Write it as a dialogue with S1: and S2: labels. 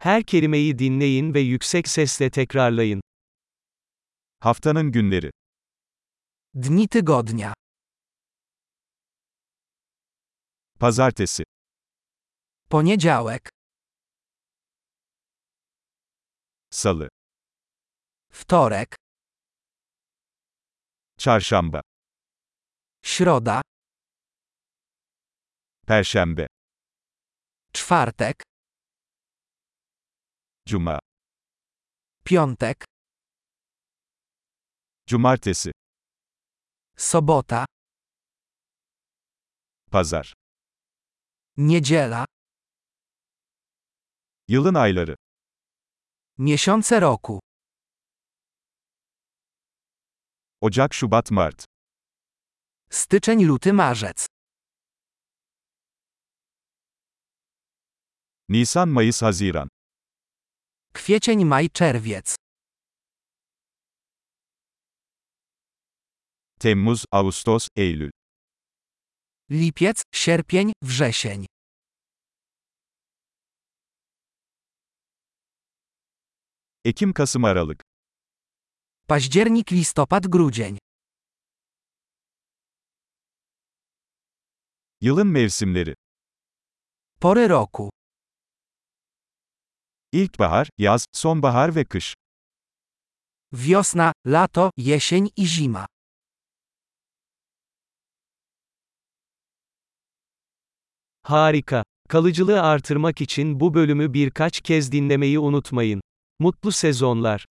S1: Her kelimeyi dinleyin ve yüksek sesle tekrarlayın.
S2: Haftanın günleri.
S3: Dni tygodnia.
S2: Pazartesi.
S3: Poniedziałek.
S2: Salı.
S3: Wtorek.
S2: Çarşamba.
S3: Środa.
S2: Perşembe.
S3: Czwartek.
S2: Cuma.
S3: Piątek.
S2: Cumartesi.
S3: Sobota.
S2: Pazar.
S3: Niedziela.
S2: Yılın ayları.
S3: Miesiące roku.
S2: Ocak, Şubat, Mart.
S3: Styczeń, luty, marzec.
S2: Nisan, Mayıs, Haziran.
S3: Kwiecień, maj, czerwiec.
S2: Temmuz, Ağustos, Eylül.
S3: Lipiec, sierpień, wrzesień.
S2: Ekim, Kasım, Aralık.
S3: Październik, listopad, grudzień.
S2: Yılın mevsimleri.
S3: Pory roku.
S2: İlkbahar, yaz, sonbahar ve kış.
S3: Wiosna, lato, jesień i zima.
S1: Harika. Kalıcılığı artırmak için bu bölümü birkaç kez dinlemeyi unutmayın. Mutlu sezonlar.